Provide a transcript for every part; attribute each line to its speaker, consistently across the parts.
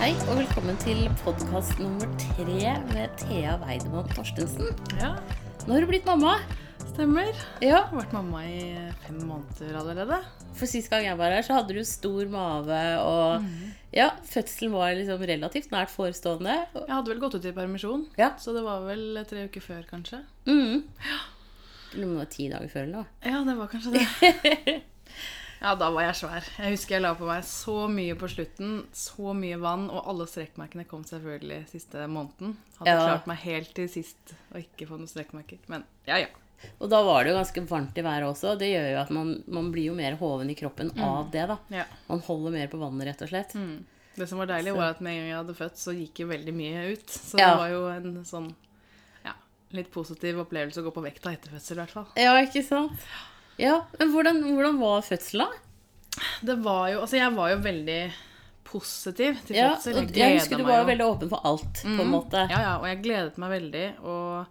Speaker 1: Hei og velkommen til podkast nummer tre med Thea Weidemann Torstensen.
Speaker 2: Ja,
Speaker 1: Nå har du blitt mamma.
Speaker 2: stemmer.
Speaker 1: Ja,
Speaker 2: Jeg har vært mamma i fem måneder allerede.
Speaker 1: For sist gang jeg var her, så hadde du stor mave og
Speaker 2: Mm.
Speaker 1: Ja, fødselen var liksom relativt nært forestående.
Speaker 2: Jeg hadde vel gått ut i permisjon,
Speaker 1: Ja.
Speaker 2: så det var vel tre uker før, kanskje.
Speaker 1: Mm. Eller om det var ti dager før eller noe.
Speaker 2: Ja, det var kanskje det. Ja, da var jeg svær. Jeg husker jeg la på meg så mye på slutten. Så mye vann, og alle strekkmerkene kom selvfølgelig siste måneden. Hadde
Speaker 1: Ja.
Speaker 2: klart meg helt til sist å ikke få noen strekkmerker. Men ja, ja.
Speaker 1: Og da var det jo ganske varmt i været også. Det gjør jo at man, man blir jo mer hoven i kroppen
Speaker 2: Mm.
Speaker 1: av det, da.
Speaker 2: ja.
Speaker 1: Man holder mer på vannet, rett og slett.
Speaker 2: Mm. Det som var deilig, var at med en gang jeg hadde født, så gikk jo veldig mye ut. Så
Speaker 1: Ja.
Speaker 2: det var jo en sånn ja, litt positiv opplevelse å gå på vekta etter fødsel, i hvert fall.
Speaker 1: Ja, ikke sant? Ja, Men hvordan, hvordan var fødselen, da?
Speaker 2: Det var jo Altså, jeg var jo veldig positiv til
Speaker 1: Ja,
Speaker 2: fødsel.
Speaker 1: og jeg husker
Speaker 2: gledet
Speaker 1: du
Speaker 2: meg
Speaker 1: var
Speaker 2: jo. Mm.
Speaker 1: jo veldig åpen for alt, på en måte.
Speaker 2: Ja, ja, og jeg gledet meg veldig, og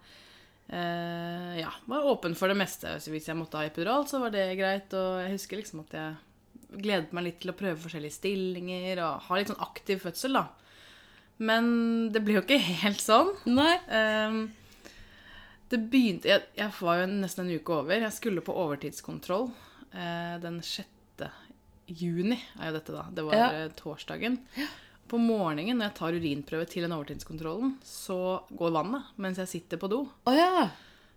Speaker 2: eh, ja, var åpen for det meste. Så hvis jeg måtte ha epidural, så var det greit, og jeg husker liksom at jeg gledet meg litt til å prøve forskjellige stillinger, og ha litt sånn aktiv fødsel, da. Men det ble jo ikke helt sånn.
Speaker 1: Nei.
Speaker 2: Ehm, det begynte jeg, jeg var jo nesten en uke over. Jeg skulle på overtidskontroll eh, den 6. juni, er jo dette da. Det var
Speaker 1: Ja.
Speaker 2: eh, torsdagen. På morgenen når jeg tar urinprøve til den overtidskontrollen, så går vannet mens jeg sitter på do.
Speaker 1: Å ja.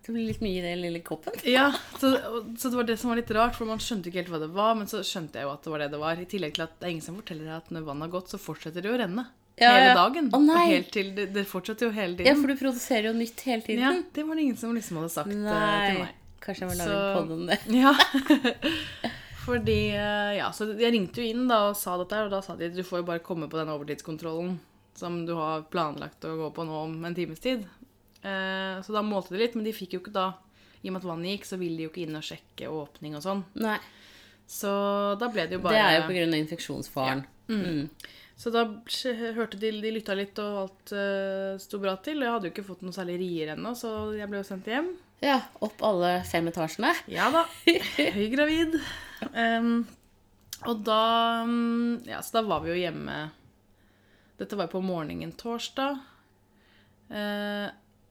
Speaker 1: Det blir litt mye i den lille koppen.
Speaker 2: Ja, så, og- så det var det som var litt rart, for man skjønte ikke helt hva det var, men så skjønte jeg jo at det var det det var. I tillegg til at det er ingen som forteller deg at når vannet har gått, så fortsetter det jo å renne.
Speaker 1: Ja, ja.
Speaker 2: hele dagen.
Speaker 1: Å, nei.
Speaker 2: Og helt til, det, det fortsetter jo hele tiden.
Speaker 1: Ja, for du produserer jo nytt hele tiden.
Speaker 2: Ja, det var det ingen som liksom hadde sagt eh, til
Speaker 1: Nei.
Speaker 2: meg.
Speaker 1: Kanskje jeg må lage
Speaker 2: Så-
Speaker 1: en podd om det.
Speaker 2: Ja. Fordi eh, Ja, så jeg ringte jo inn da og sa dette her, og da sa de du får jo bare komme på den overtidskontrollen som du har planlagt å gå på nå om en times tid. Eh, Så da målte de litt, men de fikk jo ikke da I og med at vannet gikk, så ville de jo ikke inn og sjekke åpning og sånn.
Speaker 1: Nei.
Speaker 2: Så da ble det jo bare
Speaker 1: Det er jo på grunn av infeksjonsfaren.
Speaker 2: Så da skj- hørte de, de lytta litt, og alt uh, sto bra til. Og jeg hadde jo ikke fått noe særlig rier ennå, så jeg ble jo sendt hjem.
Speaker 1: Ja. Opp alle fem etasjene.
Speaker 2: Ja da. Høygravid. Um, og da mm, Ja, så da var vi jo hjemme Dette var jo på morgenen torsdag. Eh,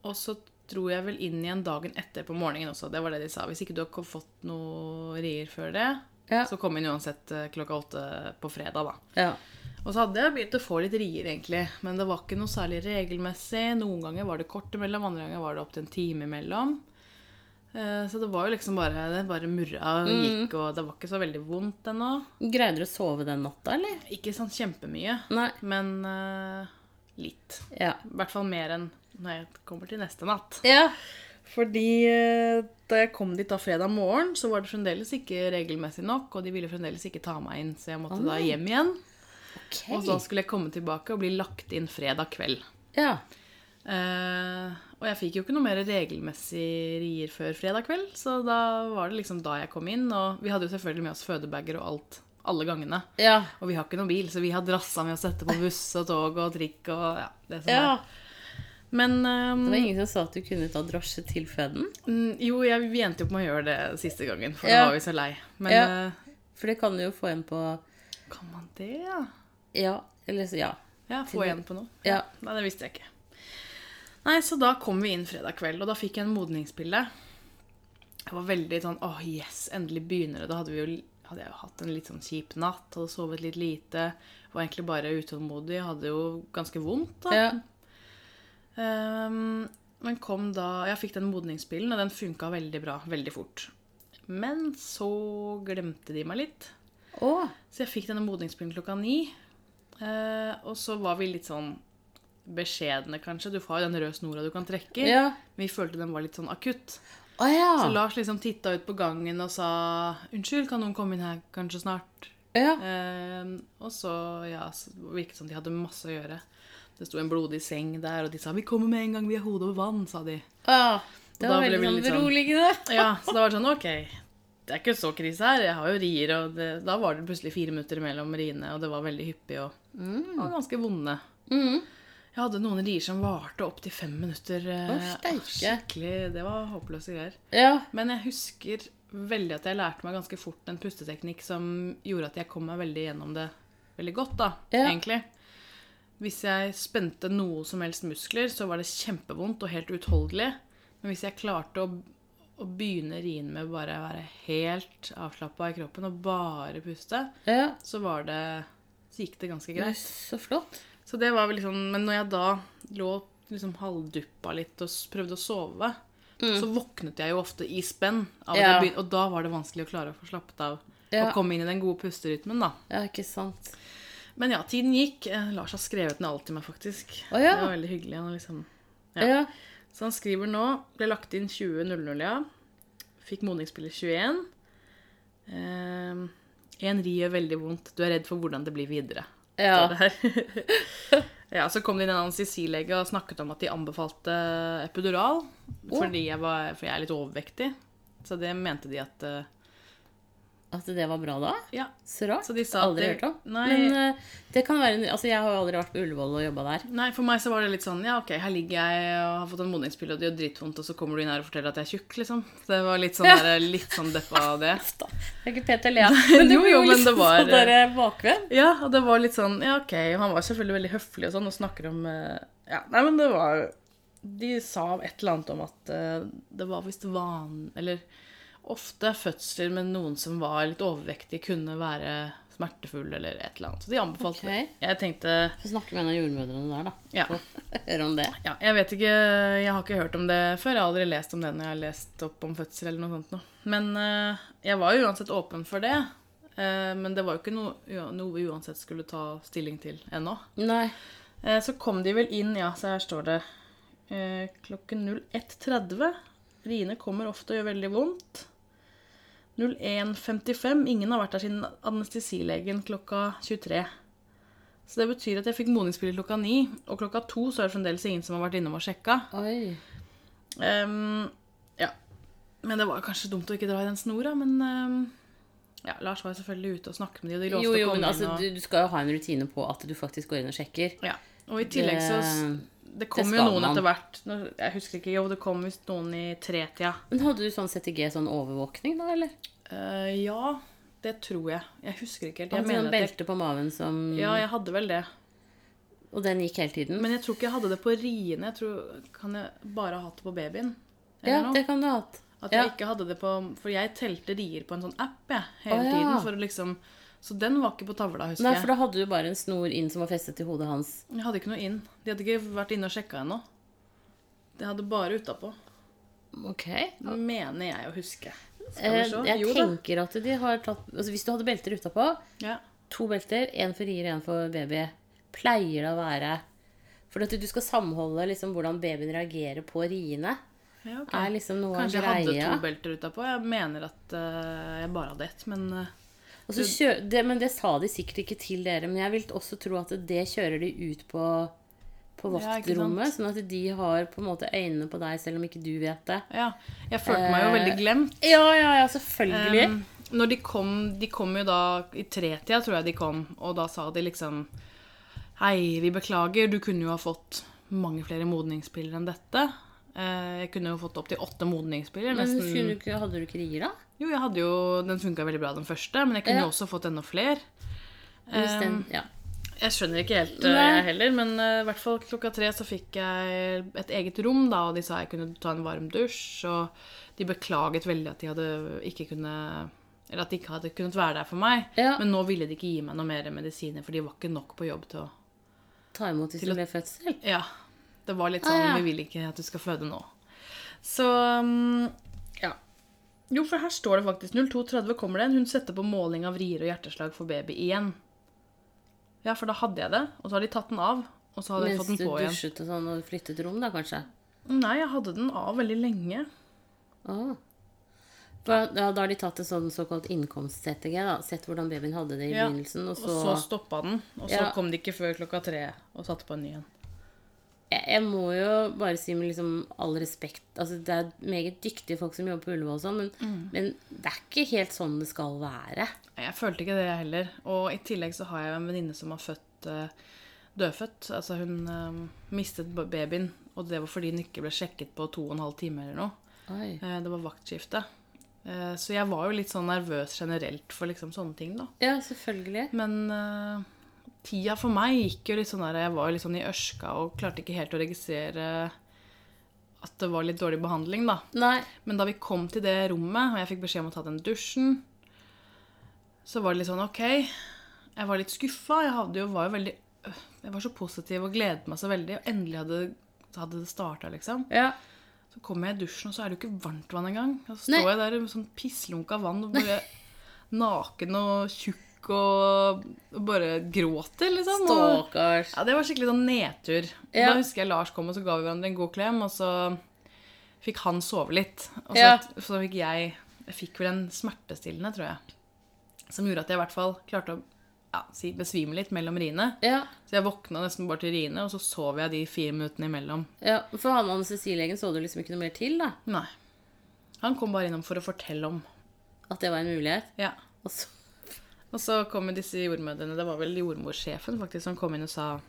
Speaker 2: og så dro jeg vel inn igjen dagen etter på morgenen også. Det var det de sa. Hvis ikke du har ko- fått noe rier før det,
Speaker 1: Ja.
Speaker 2: så kom inn uansett eh, klokka åtte på fredag, da.
Speaker 1: Ja.
Speaker 2: Og så hadde jeg begynt å få litt rier, egentlig. Men det var ikke noe særlig regelmessig. Noen ganger var det kort imellom, andre ganger var det opptil en time imellom. Eh, Så det var jo liksom bare Det bare murra og gikk, og det var ikke så veldig vondt ennå.
Speaker 1: Greide du å sove den natta, eller?
Speaker 2: Ikke sånn kjempemye,
Speaker 1: Nei.
Speaker 2: men eh, litt.
Speaker 1: Ja.
Speaker 2: I hvert fall mer enn når jeg kommer til neste natt.
Speaker 1: Ja.
Speaker 2: Fordi eh, da jeg kom dit da fredag morgen, så var det fremdeles ikke regelmessig nok, og de ville fremdeles ikke ta meg inn, så jeg måtte da hjem igjen.
Speaker 1: Ok.
Speaker 2: Og så skulle jeg komme tilbake og bli lagt inn fredag kveld.
Speaker 1: Ja.
Speaker 2: Eh, og jeg fikk jo ikke noe mer regelmessig rier før fredag kveld, så da var det liksom da jeg kom inn. Og vi hadde jo selvfølgelig med oss fødebager og alt alle gangene.
Speaker 1: Ja.
Speaker 2: Og vi har ikke noen bil, så vi har drassa med oss dette på buss og tog og trikk og ja, det som
Speaker 1: ja.
Speaker 2: er. Men ehm,
Speaker 1: Det var ingen som sa at du kunne ta drosje til føden?
Speaker 2: mm, jo, jeg, vi endte jo opp med å gjøre det siste gangen, for
Speaker 1: Ja.
Speaker 2: da var vi så lei. Men
Speaker 1: Ja.
Speaker 2: eh,
Speaker 1: For det kan du jo få en på
Speaker 2: kan man det, ja?
Speaker 1: Ja. Eller så ja.
Speaker 2: Ja, få igjen på noe.
Speaker 1: Ja.
Speaker 2: Nei, det visste jeg ikke. Nei, så da kom vi inn fredag kveld, og da fikk jeg en modningspille. Jeg var veldig sånn åh, yes, endelig begynner det. Da hadde, vi jo, hadde jeg jo hatt en litt sånn kjip natt, hadde sovet litt lite. Var egentlig bare utålmodig, hadde jo ganske vondt da.
Speaker 1: ja.
Speaker 2: Ehm, men kom da Jeg fikk den modningspillen, og den funka veldig bra, veldig fort. Men så glemte de meg litt.
Speaker 1: Å.
Speaker 2: Så jeg fikk denne modningspillen klokka ni. Eh, og så var vi litt sånn beskjedne, kanskje. Du har jo den røde snora du kan trekke i.
Speaker 1: Ja.
Speaker 2: Men vi følte den var litt sånn akutt.
Speaker 1: Å ja.
Speaker 2: Så Lars liksom titta ut på gangen og sa 'Unnskyld, kan noen komme inn her kanskje snart?'
Speaker 1: ja.
Speaker 2: Eh, og så, ja, så virket det som de hadde masse å gjøre. Det sto en blodig seng der, og de sa 'Vi kommer med en gang, vi har hodet over vann', sa de.
Speaker 1: Ja, Ah, det
Speaker 2: Og da
Speaker 1: var
Speaker 2: ble
Speaker 1: veldig
Speaker 2: vi
Speaker 1: sånn
Speaker 2: litt sånn-
Speaker 1: beroligende.
Speaker 2: Ja, så da var det sånn, ok, det er ikke så krise her, jeg har jo rier, og det, da var det plutselig fire minutter mellom riene, og det var veldig hyppig, og, og ganske vonde. Jeg hadde noen rier som varte opp til fem minutter. eh,
Speaker 1: Å, steike.
Speaker 2: skikkelig, det var håpløse greier.
Speaker 1: Ja.
Speaker 2: Men jeg husker veldig at jeg lærte meg ganske fort en pusteteknikk som gjorde at jeg kom meg veldig gjennom det veldig godt, da,
Speaker 1: Ja.
Speaker 2: egentlig. Hvis jeg spente noe som helst muskler, så var det kjempevondt og helt utholdelig. Men hvis jeg klarte å, å begynne rien med bare å være helt avslappa i kroppen og bare puste,
Speaker 1: Ja.
Speaker 2: så var det Så gikk det ganske greit.
Speaker 1: Så flott.
Speaker 2: Så det var vel liksom Men når jeg da lå liksom halvduppa litt og s- prøvde å sove, så våknet jeg jo ofte i spenn.
Speaker 1: Mm.
Speaker 2: Av at
Speaker 1: Ja.
Speaker 2: jeg begyn- og da var det vanskelig å klare å få slappet av
Speaker 1: Ja.
Speaker 2: og komme inn i den gode pusterytmen, da.
Speaker 1: Ja, ikke sant.
Speaker 2: Men ja, tiden gikk. Eh, Lars har skrevet ned alt til meg, faktisk.
Speaker 1: Å, ja.
Speaker 2: Det var veldig hyggelig. Han liksom Ja.
Speaker 1: Ja. ja.
Speaker 2: så han skriver nå Ble lagt inn 20.00, ja. Fikk modningsspiller 21. Eh, en ri gjør veldig vondt. Du er redd for hvordan det blir videre. står det her. ja, så kom det inn en anestesilege og snakket om at de anbefalte epidural. Fordi jeg, var, for jeg er litt overvektig. Så det mente de at eh,
Speaker 1: At det var bra da?
Speaker 2: Ja.
Speaker 1: Så rart.
Speaker 2: Så de sa at
Speaker 1: aldri
Speaker 2: det-
Speaker 1: hørt om.
Speaker 2: Nei.
Speaker 1: Men eh, det kan være en, altså, jeg har jo aldri vært på Ullevål og jobba der.
Speaker 2: Nei, for meg så var det litt sånn Ja, OK, her ligger jeg og har fått en modningspille, og det gjør dritvondt, og så kommer du inn her og forteller at jeg er tjukk, liksom. Det var litt sånn,
Speaker 1: Ja.
Speaker 2: der, litt sånn deppa av det.
Speaker 1: Uff da. Det er ikke Peter Lea. Men det
Speaker 2: Jo,
Speaker 1: blir
Speaker 2: jo,
Speaker 1: jo,
Speaker 2: men
Speaker 1: liksom
Speaker 2: det var- eh,
Speaker 1: sånn der bakvenn.
Speaker 2: Ja, og det var litt sånn Ja, OK. Han var selvfølgelig veldig høflig og sånn, og snakker om eh, Ja, nei, men det var De sa et eller annet om at eh, det var visst van... Eller ofte fødsler med noen som var litt overvektig, kunne være smertefull eller et eller annet. Så de anbefalte det.
Speaker 1: Ok.
Speaker 2: Jeg tenkte
Speaker 1: Få snakke med en av jordmødrene der, da.
Speaker 2: Ja.
Speaker 1: Høre om det.
Speaker 2: Ja, jeg vet ikke, jeg har ikke hørt om det før. Jeg har aldri lest om det når jeg har lest opp om fødsel eller noe sånt. Nå. Men eh, jeg var jo uansett åpen for det. Eh, men det var jo ikke noe, ja, noe vi uansett skulle ta stilling til ennå.
Speaker 1: Nei.
Speaker 2: Eh, så kom de vel inn, ja, så her står det eh, klokken 01.30. Riene kommer ofte og gjør veldig vondt. 01.55. Ingen har vært der siden anestesilegen klokka 23. Så det betyr at jeg fikk modningspiller klokka ni, og klokka to så er det fremdeles ingen som har vært innom og sjekka.
Speaker 1: Oi.
Speaker 2: Ehm, ja. Men det var kanskje dumt å ikke dra i den snora, men ehm, ja, Lars var jo selvfølgelig ute og snakket med de, og de lovte
Speaker 1: Jo, jo,
Speaker 2: å
Speaker 1: men
Speaker 2: komme
Speaker 1: altså,
Speaker 2: inn. Og,
Speaker 1: du, du skal jo ha en rutine på at du faktisk går inn og sjekker. Eh,
Speaker 2: ja. og i tillegg så s- Det kom
Speaker 1: det
Speaker 2: jo
Speaker 1: skal
Speaker 2: noen
Speaker 1: man.
Speaker 2: etter hvert. Nå- Jeg husker ikke, jo, det kom visst noen i tretida.
Speaker 1: Men hadde du sånn CTG, sånn overvåkning, da, eller?
Speaker 2: Eh, ja, det tror jeg. Jeg husker ikke helt.
Speaker 1: Jeg
Speaker 2: Jeg
Speaker 1: hadde
Speaker 2: mener
Speaker 1: sånn
Speaker 2: at jeg,
Speaker 1: belte på maven som
Speaker 2: ja, jeg hadde vel det.
Speaker 1: Og den gikk hele tiden?
Speaker 2: Men jeg tror ikke jeg hadde det på riene. Jeg tror, kan jeg bare ha hatt det på babyen? Eller
Speaker 1: ja,
Speaker 2: noe?
Speaker 1: det kan du ha hatt.
Speaker 2: At jeg
Speaker 1: Ja.
Speaker 2: ikke hadde det på For jeg telte rier på en sånn app jeg, hele
Speaker 1: Å, ja.
Speaker 2: tiden. For å liksom, så den var ikke på tavla, husker
Speaker 1: Nei, for
Speaker 2: jeg.
Speaker 1: da hadde du bare en snor inn som var festet til hodet hans.
Speaker 2: Jeg hadde ikke noe inn. De hadde ikke vært inne og sjekka ennå. Det hadde bare utapå.
Speaker 1: Ok.
Speaker 2: Mener jeg å huske. Skal vi
Speaker 1: Eh,
Speaker 2: se.
Speaker 1: jeg
Speaker 2: Jo da.
Speaker 1: tenker at de har tatt altså Hvis du hadde belter utapå,
Speaker 2: Ja.
Speaker 1: to belter, én for rier, én for baby, pleier det å være For at du skal samholde liksom hvordan babyen reagerer på riene,
Speaker 2: Ja, ok.
Speaker 1: er liksom noe av
Speaker 2: Kanskje jeg hadde
Speaker 1: greia.
Speaker 2: to belter utapå. Jeg mener at eh, jeg bare hadde ett, men eh,
Speaker 1: Og så kjø det, men det sa de sikkert ikke til dere, men jeg vil også tro at det kjører de ut på, på
Speaker 2: Ja, ikke sant.
Speaker 1: vaktrommet. sånn at de har på en måte øynene på deg, selv om ikke du vet det.
Speaker 2: ja. Jeg følte meg jo
Speaker 1: Eh,
Speaker 2: veldig glemt.
Speaker 1: Ja, ja, ja, selvfølgelig.
Speaker 2: Um, når de kom De kom jo da i tretida, tror jeg de kom, og da sa de liksom Hei, vi beklager, du kunne jo ha fått mange flere modningspiller enn dette. Eh, Jeg kunne jo fått opptil åtte modningspiller.
Speaker 1: men
Speaker 2: Nesten.
Speaker 1: skulle du ikke, hadde du ikke rier, da?
Speaker 2: Jo, jeg hadde jo, Den funka veldig bra, den første, men jeg kunne
Speaker 1: Ja.
Speaker 2: jo også fått enda flere.
Speaker 1: Hvis den, ja.
Speaker 2: Jeg skjønner ikke helt eh,
Speaker 1: Nei.
Speaker 2: jeg heller, men eh, i hvert fall klokka tre så fikk jeg et eget rom, da, og de sa jeg kunne ta en varm dusj, og de beklaget veldig at de hadde ikke kunne eller at de ikke hadde kunnet være der for meg.
Speaker 1: Ja.
Speaker 2: Men nå ville de ikke gi meg noe mer medisiner, for de var ikke nok på jobb til å
Speaker 1: Ta imot hvis
Speaker 2: Til
Speaker 1: det
Speaker 2: å-
Speaker 1: ble fødsel.
Speaker 2: Ja. Det var litt
Speaker 1: Ah,
Speaker 2: sånn
Speaker 1: ja.
Speaker 2: Vi vil ikke at du skal føde nå. Så um, Ja. Jo, for her står det faktisk 02.30 kommer det en. Hun setter på måling av vrier og hjerteslag for baby igjen. Ja, for da hadde jeg det, og så har de tatt den av. Og så hadde jeg
Speaker 1: Mens
Speaker 2: fått
Speaker 1: du
Speaker 2: den på igjen.
Speaker 1: dusjet og sånn og flyttet rom, da kanskje.
Speaker 2: Mm, Nei, jeg hadde den av veldig lenge.
Speaker 1: Ah. Da, da, da har de tatt et sånn såkalt innkomst-CTG, da. Sett hvordan babyen hadde det i
Speaker 2: Ja,
Speaker 1: begynnelsen, og
Speaker 2: Og
Speaker 1: så,
Speaker 2: så stoppa den, og så
Speaker 1: Ja.
Speaker 2: kom de ikke før klokka tre og satte på en ny en.
Speaker 1: jeg, jeg må jo bare si med liksom all respekt altså Det er meget dyktige folk som jobber på Ullevål og sånn, men, men det er ikke helt sånn det skal være.
Speaker 2: Nei, Jeg følte ikke det jeg heller. Og i tillegg så har jeg jo en venninne som har født eh, dødfødt. Altså hun eh, mistet ba- babyen, og det var fordi hun ikke ble sjekket på to og en halv time eller noe.
Speaker 1: Oi.
Speaker 2: Eh, det var vaktskifte. Eh, så jeg var jo litt sånn nervøs generelt for liksom sånne ting, da.
Speaker 1: Ja, selvfølgelig.
Speaker 2: Men eh, tida for meg gikk jo litt sånn der Jeg var jo litt sånn i ørska og klarte ikke helt å registrere at det var litt dårlig behandling, da.
Speaker 1: Nei.
Speaker 2: Men da vi kom til det rommet, og jeg fikk beskjed om å ta den dusjen, så var det litt sånn OK. Jeg var litt skuffa. Jeg, hadde jo, var jo veldig, øh, jeg var så positiv og gledet meg så veldig. Og endelig hadde, hadde det starta, liksom.
Speaker 1: Ja.
Speaker 2: Så kommer jeg i dusjen, og så er det jo ikke varmt vann engang. Og så står
Speaker 1: Nei.
Speaker 2: jeg der med sånn pisslunk av vann og bare naken og tjukk og, og bare gråter, liksom. Og,
Speaker 1: Stakkars.
Speaker 2: ja, det var skikkelig sånn nedtur. Og
Speaker 1: Ja.
Speaker 2: Da husker jeg Lars kom, og så ga vi hverandre en god klem, og så fikk han sove litt. Og så,
Speaker 1: Ja.
Speaker 2: så fikk jeg Jeg fikk vel en smertestillende, tror jeg, som gjorde at jeg i hvert fall klarte å ja, si, besvime litt mellom riene.
Speaker 1: Ja.
Speaker 2: Så jeg våkna nesten bare til riene, og så sov jeg de fire minuttene imellom.
Speaker 1: ja. For han anestesilegen så du liksom ikke noe mer til, da?
Speaker 2: Nei. Han kom bare innom for å fortelle om.
Speaker 1: At det var en mulighet?
Speaker 2: Ja.
Speaker 1: Og så
Speaker 2: Og så kom jo disse jordmødrene. Det var vel jordmorsjefen faktisk som kom inn og sa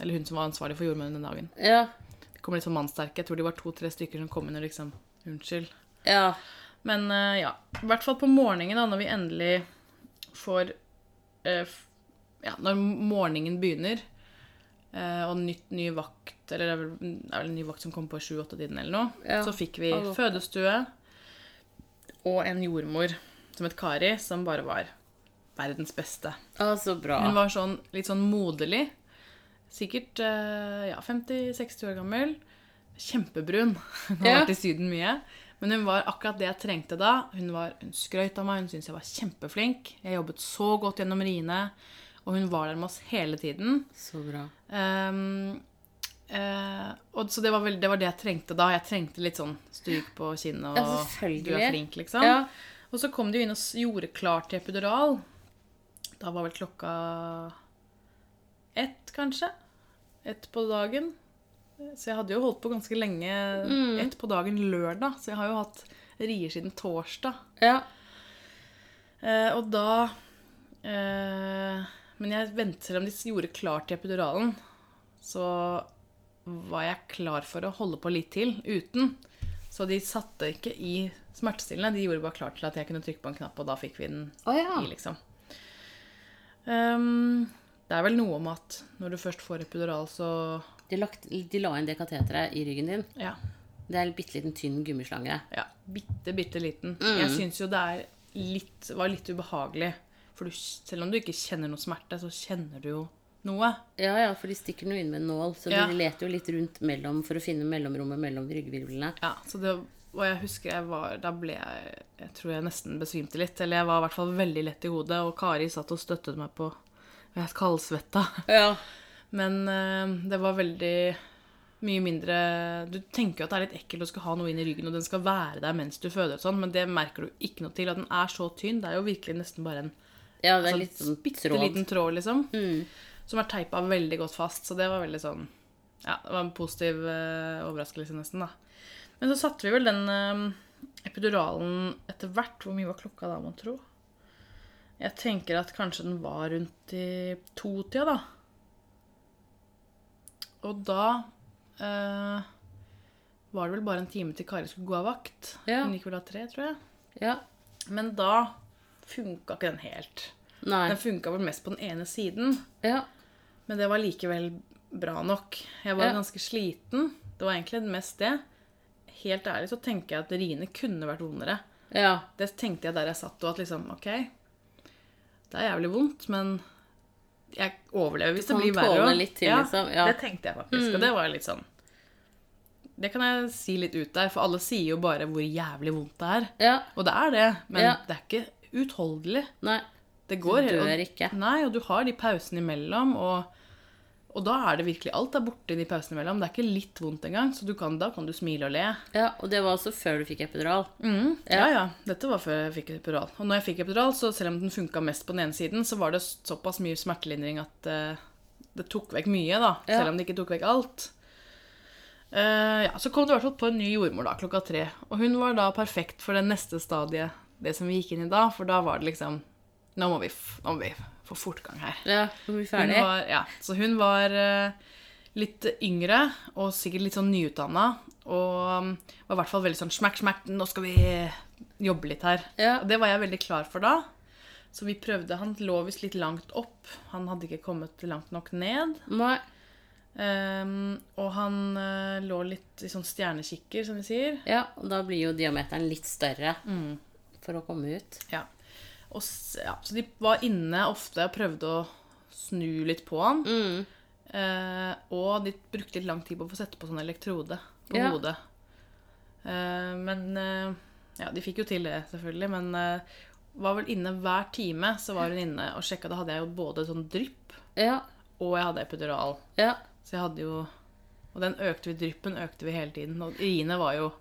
Speaker 2: Eller hun som var ansvarlig for jordmødrene den dagen.
Speaker 1: Ja.
Speaker 2: Det kom litt sånn mannsterke. Jeg tror de var to-tre stykker som kom inn og liksom Unnskyld.
Speaker 1: Ja.
Speaker 2: Men eh, ja. I hvert fall på morgenen, da, når vi endelig får eh, f- Ja, når morgenen begynner, eh, og nytt, ny vakt Eller det er vel, det er vel en ny vakt som kom på sju-åtte-tiden eller noe.
Speaker 1: Ja.
Speaker 2: Så fikk vi
Speaker 1: Halv åtte.
Speaker 2: fødestue og en jordmor som het Kari, som bare var verdens beste.
Speaker 1: Å, så bra.
Speaker 2: Hun var sånn, litt sånn moderlig. Sikkert eh, ja, 50-60 år gammel. Kjempebrun. Hun har
Speaker 1: Ja.
Speaker 2: vært i Syden mye. Men hun var akkurat det jeg trengte da. Hun, var, hun skrøt av meg, hun syntes jeg var kjempeflink. Jeg jobbet så godt gjennom riene. Og hun var der med oss hele tiden.
Speaker 1: Så bra.
Speaker 2: Ehm, eh, og så det var, vel, det var det jeg trengte da. Jeg trengte litt sånn stryk på kinnet og
Speaker 1: Ja, selvfølgelig.
Speaker 2: du er flink, liksom.
Speaker 1: Ja.
Speaker 2: Og så kom de jo inn og s- gjorde klart til epidural. Da var vel klokka ett, kanskje. Ett på dagen. Så jeg hadde jo holdt på ganske lenge.
Speaker 1: Mm.
Speaker 2: Ett på dagen lørdag, så jeg har jo hatt rier siden torsdag.
Speaker 1: Ja.
Speaker 2: Eh, og da eh, Men jeg ventet selv om de gjorde klart til epiduralen, så var jeg klar for å holde på litt til uten. Så de satte ikke i smertestillende. De gjorde bare klart til at jeg kunne trykke på en knapp, og da fikk vi den
Speaker 1: Å ja.
Speaker 2: i, liksom. Ehm, det er vel noe om at når du først får epidural, så
Speaker 1: De, lagt, de la inn det kateteret i ryggen din.
Speaker 2: Ja.
Speaker 1: Det er en bitte liten tynn gummislange.
Speaker 2: ja Mm. bitte, bitte liten. Jeg syns jo det er litt, var litt ubehagelig. For du, selv om du ikke kjenner noe smerte, så kjenner du jo noe.
Speaker 1: Ja, ja, for de stikker noe inn med en nål, så
Speaker 2: Ja.
Speaker 1: de leter jo litt rundt mellom for å finne mellomrommet mellom ryggvirvlene.
Speaker 2: Ja, så det, og jeg husker jeg var, da ble jeg, jeg tror jeg nesten besvimte litt, eller jeg var i hvert fall veldig lett i hodet, og Kari satt og støttet meg på, og jeg kaldsvetta.
Speaker 1: Ja.
Speaker 2: Men eh, det var veldig mye mindre, du tenker jo at det er litt ekkelt å skal ha noe inn i ryggen, og den skal være der mens du føder og sånn, men det merker du ikke noe til, at den er så tynn, det er jo virkelig nesten bare en
Speaker 1: Ja, det er
Speaker 2: sånn
Speaker 1: litt Mm. sånn
Speaker 2: bitte
Speaker 1: tråd.
Speaker 2: liten tråd, liksom, som er teipa veldig godt fast, så det var veldig sånn, ja, det var en positiv eh, overraskelse nesten, da. Men så satte vi vel den eh, epiduralen etter hvert, hvor mye var klokka da, man tro? Jeg tenker at kanskje den var rundt i to-tida, da. Og da eh, var det vel bare en time til Kari skulle gå av vakt.
Speaker 1: Ja.
Speaker 2: Hun gikk vel av tre, tror jeg.
Speaker 1: Ja.
Speaker 2: Men da funka ikke den helt.
Speaker 1: Nei.
Speaker 2: Den funka vel mest på den ene siden,
Speaker 1: Ja.
Speaker 2: men det var likevel bra nok. Jeg var
Speaker 1: Ja.
Speaker 2: ganske sliten. Det var egentlig mest det. Helt ærlig så tenker jeg at riene kunne vært vondere.
Speaker 1: Ja.
Speaker 2: Det tenkte jeg der jeg satt, og at liksom OK, det er jævlig vondt, men jeg overlever hvis det
Speaker 1: kan
Speaker 2: blir verre.
Speaker 1: tåle
Speaker 2: også.
Speaker 1: litt til, liksom. Ja. Mm.
Speaker 2: Det tenkte jeg faktisk, og det var litt sånn Det kan jeg si litt ut der, for alle sier jo bare hvor jævlig vondt det er.
Speaker 1: Ja.
Speaker 2: Og det er det, men
Speaker 1: Ja.
Speaker 2: det er ikke utholdelig.
Speaker 1: Nei.
Speaker 2: Det går
Speaker 1: dør
Speaker 2: og-
Speaker 1: ikke.
Speaker 2: Nei, og du har de pausene imellom, og, og da er det virkelig alt er borte i de pausene imellom. Det er ikke litt vondt engang, så du kan, da kan du smile og le.
Speaker 1: Ja, og det var også før du fikk epidural.
Speaker 2: Ja. ja, Dette var før jeg fikk epidural. Og når jeg fikk epidural, så selv om den funka mest på den ene siden, så var det såpass mye smertelindring at eh, det tok vekk mye, da.
Speaker 1: Ja.
Speaker 2: Selv om det ikke tok vekk alt. Eh, ja, Så kom det i hvert fall på en ny jordmor da, klokka tre. Og hun var da perfekt for det neste stadiet, det som vi gikk inn i da. For da var det liksom Nå må vi, f nå må vi få fortgang her.
Speaker 1: Ja, nå er vi
Speaker 2: Hun
Speaker 1: ferdig.
Speaker 2: var, ja, så hun var eh, litt yngre og sikkert litt sånn nyutdanna. Og um, var i hvert fall veldig sånn smakk, smakk, nå skal vi jobbe litt her.
Speaker 1: Ja.
Speaker 2: Og det var jeg veldig klar for da. Så vi prøvde. Han lå visst litt langt opp. Han hadde ikke kommet langt nok ned.
Speaker 1: Nei.
Speaker 2: Ehm, og han eh, lå litt i sånn stjernekikker, som vi sier.
Speaker 1: Ja, og da blir jo diameteren litt større
Speaker 2: Mm.
Speaker 1: for å komme ut.
Speaker 2: Ja. Og, s- ja. Så de var inne ofte og prøvde å snu litt på han. Eh, og de brukte litt lang tid på å få sette på sånn elektrode på
Speaker 1: Ja.
Speaker 2: hodet. Eh, men eh, Ja, de fikk jo til det, selvfølgelig, men eh, var vel inne hver time, så var hun inne og sjekka. Da hadde jeg jo både sånn drypp
Speaker 1: Ja,
Speaker 2: og jeg hadde epidural.
Speaker 1: ja,
Speaker 2: Så jeg hadde jo Og den økte vi, dryppen økte vi hele tiden. Og riene var jo,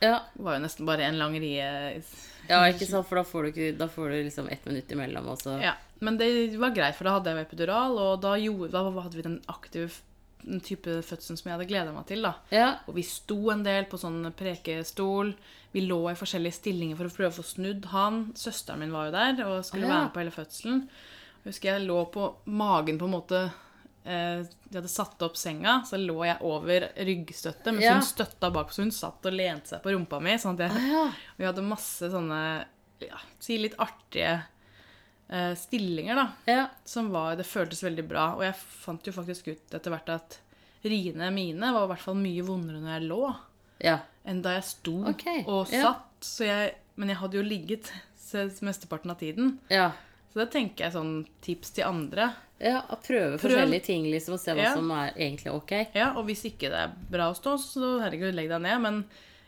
Speaker 1: ja.
Speaker 2: var jo nesten bare en lang rie.
Speaker 1: Ja, ikke sant, for da får du, ikke, da får du liksom ett minutt imellom, og så
Speaker 2: Ja, men det var greit, for da hadde jeg jo epidural, og da, gjorde, da hadde vi den aktive f- den type fødselen som jeg hadde gleda meg til. da.
Speaker 1: Ja,
Speaker 2: Og vi sto en del på sånn prekestol. Vi lå i forskjellige stillinger for å prøve å få snudd han. Søsteren min var jo der og skulle
Speaker 1: Ah, ja.
Speaker 2: være med på hele fødselen. Jeg husker jeg lå på magen på en måte eh, De hadde satt opp senga, så lå jeg over ryggstøtte, mens
Speaker 1: Ja.
Speaker 2: hun støtta bak, så hun satt og lente seg på rumpa mi. sånn at jeg...
Speaker 1: ja.
Speaker 2: Vi hadde masse sånne ja, si litt artige eh, stillinger, da.
Speaker 1: ja.
Speaker 2: Som var, det føltes veldig bra. Og jeg fant jo faktisk ut etter hvert at riene mine var i hvert fall mye vondere når jeg lå,
Speaker 1: ja.
Speaker 2: enn da jeg sto
Speaker 1: Ok,
Speaker 2: og
Speaker 1: ja.
Speaker 2: satt. Så jeg, men jeg hadde jo ligget se- mesteparten av tiden.
Speaker 1: ja.
Speaker 2: Så det tenker jeg sånn tips til andre.
Speaker 1: Ja, og prøve forskjellige ting, liksom, og se hva
Speaker 2: Ja.
Speaker 1: som er egentlig ok.
Speaker 2: Ja, Og hvis ikke det er bra å stå, så herregud, legg deg ned. Men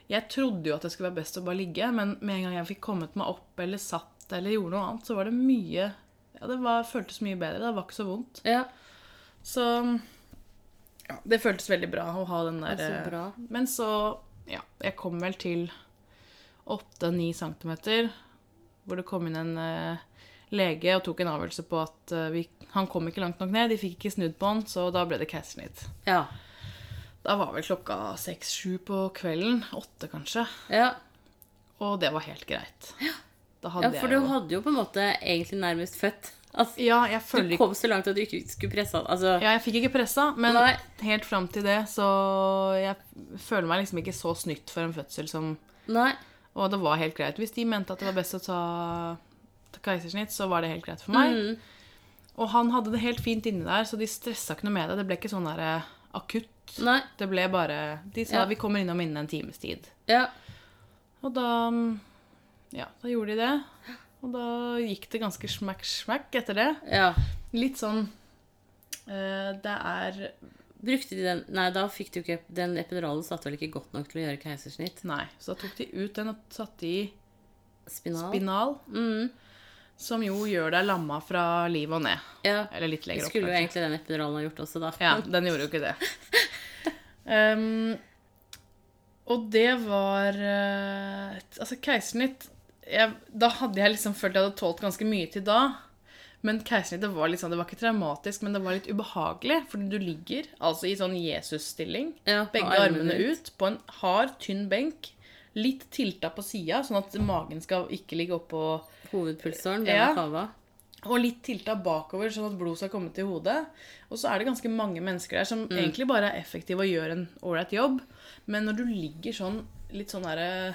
Speaker 2: jeg trodde jo at det skulle være best å bare ligge, men med en gang jeg fikk kommet meg opp eller satt eller gjorde noe annet, så var det mye Ja, det var, føltes mye bedre. Det var ikke så vondt.
Speaker 1: Ja,
Speaker 2: Så ja, det føltes veldig bra å ha den der eh,
Speaker 1: Det er så bra.
Speaker 2: Men så Ja, jeg kom vel til 8-9 centimeter, hvor det kom inn en eh, lege og tok en avgjørelse på at eh, vi, han kom ikke langt nok ned. De fikk ikke snudd på han, så da ble det keisersnitt.
Speaker 1: ja,
Speaker 2: Da var vel klokka seks-sju på kvelden. Åtte, kanskje.
Speaker 1: ja.
Speaker 2: Og det var helt greit. Da
Speaker 1: ja
Speaker 2: hadde
Speaker 1: for du
Speaker 2: jeg jo
Speaker 1: hadde jo på en måte egentlig nærmest født. Altså,
Speaker 2: Ja, jeg
Speaker 1: du
Speaker 2: føler ikke
Speaker 1: kom så langt at du ikke skulle presse han. Altså,
Speaker 2: ja, jeg fikk ikke pressa, men
Speaker 1: Nei.
Speaker 2: helt fram til det så Jeg føler meg liksom ikke så snytt for en fødsel som
Speaker 1: nei.
Speaker 2: Og det var helt greit. Hvis de mente at det var best å ta ta keisersnitt, så var det helt greit for meg.
Speaker 1: Mm.
Speaker 2: Og han hadde det helt fint inni der, så de stressa ikke noe med det. Det ble ikke sånn der eh, akutt.
Speaker 1: Nei.
Speaker 2: Det ble bare De sa
Speaker 1: Ja.
Speaker 2: vi kommer innom innen en times tid.
Speaker 1: Ja.
Speaker 2: Og da mm, Ja, da gjorde de det. Og da gikk det ganske smakk, smakk etter det.
Speaker 1: ja.
Speaker 2: Litt sånn eh, Det er
Speaker 1: Brukte de den Nei, da fikk du ikke Den epiduralen satt vel ikke godt nok til å gjøre keisersnitt?
Speaker 2: Nei. Så da tok de ut den og satte i
Speaker 1: Spinal?
Speaker 2: spinal. Som jo gjør deg lamma fra liv og ned.
Speaker 1: ja.
Speaker 2: Eller litt
Speaker 1: Det
Speaker 2: lenger opp.
Speaker 1: skulle jo
Speaker 2: kanskje.
Speaker 1: egentlig den epiduralen ha gjort også, da.
Speaker 2: Ja, den gjorde jo ikke det. Ehm, og det var eh, Altså, keisersnitt jeg- Da hadde jeg liksom følt jeg hadde tålt ganske mye til da. Men keisersnitt det var liksom, det var ikke traumatisk, men det var litt ubehagelig. Fordi du ligger altså i sånn Jesus-stilling.
Speaker 1: Ja,
Speaker 2: begge
Speaker 1: og
Speaker 2: armene ut på en hard, tynn benk. Litt tilta på sida, sånn at magen skal ikke ligge oppå
Speaker 1: Hovedpulsåren, den
Speaker 2: Ja.
Speaker 1: er kava.
Speaker 2: og litt tilta bakover, sånn at blod skal komme til hodet. Og så er det ganske mange mennesker der som egentlig bare er effektive og gjør en ålreit jobb. Men når du ligger sånn litt sånn derre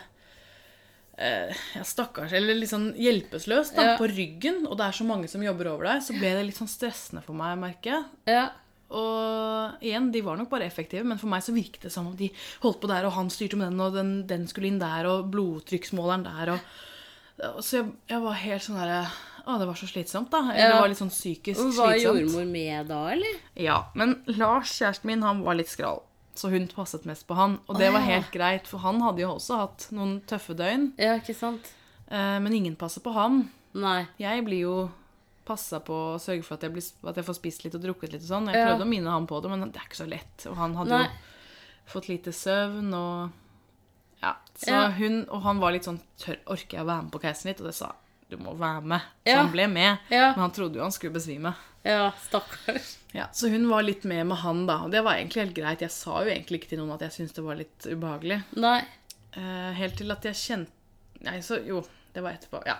Speaker 2: eh, ja, stakkars Eller litt sånn hjelpeløs da,
Speaker 1: Ja.
Speaker 2: på ryggen, og det er så mange som jobber over deg, så ble det litt sånn stressende for meg, merker jeg.
Speaker 1: Ja.
Speaker 2: Og igjen, de var nok bare effektive, men for meg så virket det som om de holdt på der, og han styrte med den, og den, den skulle inn der, og blodtrykksmåleren der, og og Så jeg, jeg var helt sånn derre Å, det var så slitsomt, da. Eller
Speaker 1: Ja.
Speaker 2: det var litt sånn psykisk
Speaker 1: Og Var
Speaker 2: slitsomt.
Speaker 1: jordmor med da, eller?
Speaker 2: Ja, Men Lars, kjæresten min, han var litt skral. Så hun passet mest på han. Og det var helt greit, for han hadde jo også hatt noen tøffe døgn.
Speaker 1: Ja, ikke sant?
Speaker 2: Eh, men ingen passer på han.
Speaker 1: Nei.
Speaker 2: Jeg blir jo passa på å sørge for at jeg, blir, at jeg får spist litt og drukket litt og sånn. Jeg
Speaker 1: Ja.
Speaker 2: prøvde å minne han på det, men det er ikke så lett. Og han hadde
Speaker 1: Nei.
Speaker 2: jo fått lite søvn og Ja. Så
Speaker 1: Ja.
Speaker 2: hun og han var litt sånn Tør, orker jeg å være med på keisen ditt? Og det sa du må være med. Så
Speaker 1: Ja.
Speaker 2: han ble med.
Speaker 1: Ja.
Speaker 2: Men han trodde jo han skulle besvime.
Speaker 1: Ja, stakkars.
Speaker 2: Ja, Så hun var litt med med han, da. Og det var egentlig helt greit. Jeg sa jo egentlig ikke til noen at jeg syntes det var litt ubehagelig.
Speaker 1: Nei.
Speaker 2: Eh, helt til at jeg kjente Nei, så jo, det var etterpå. Ja.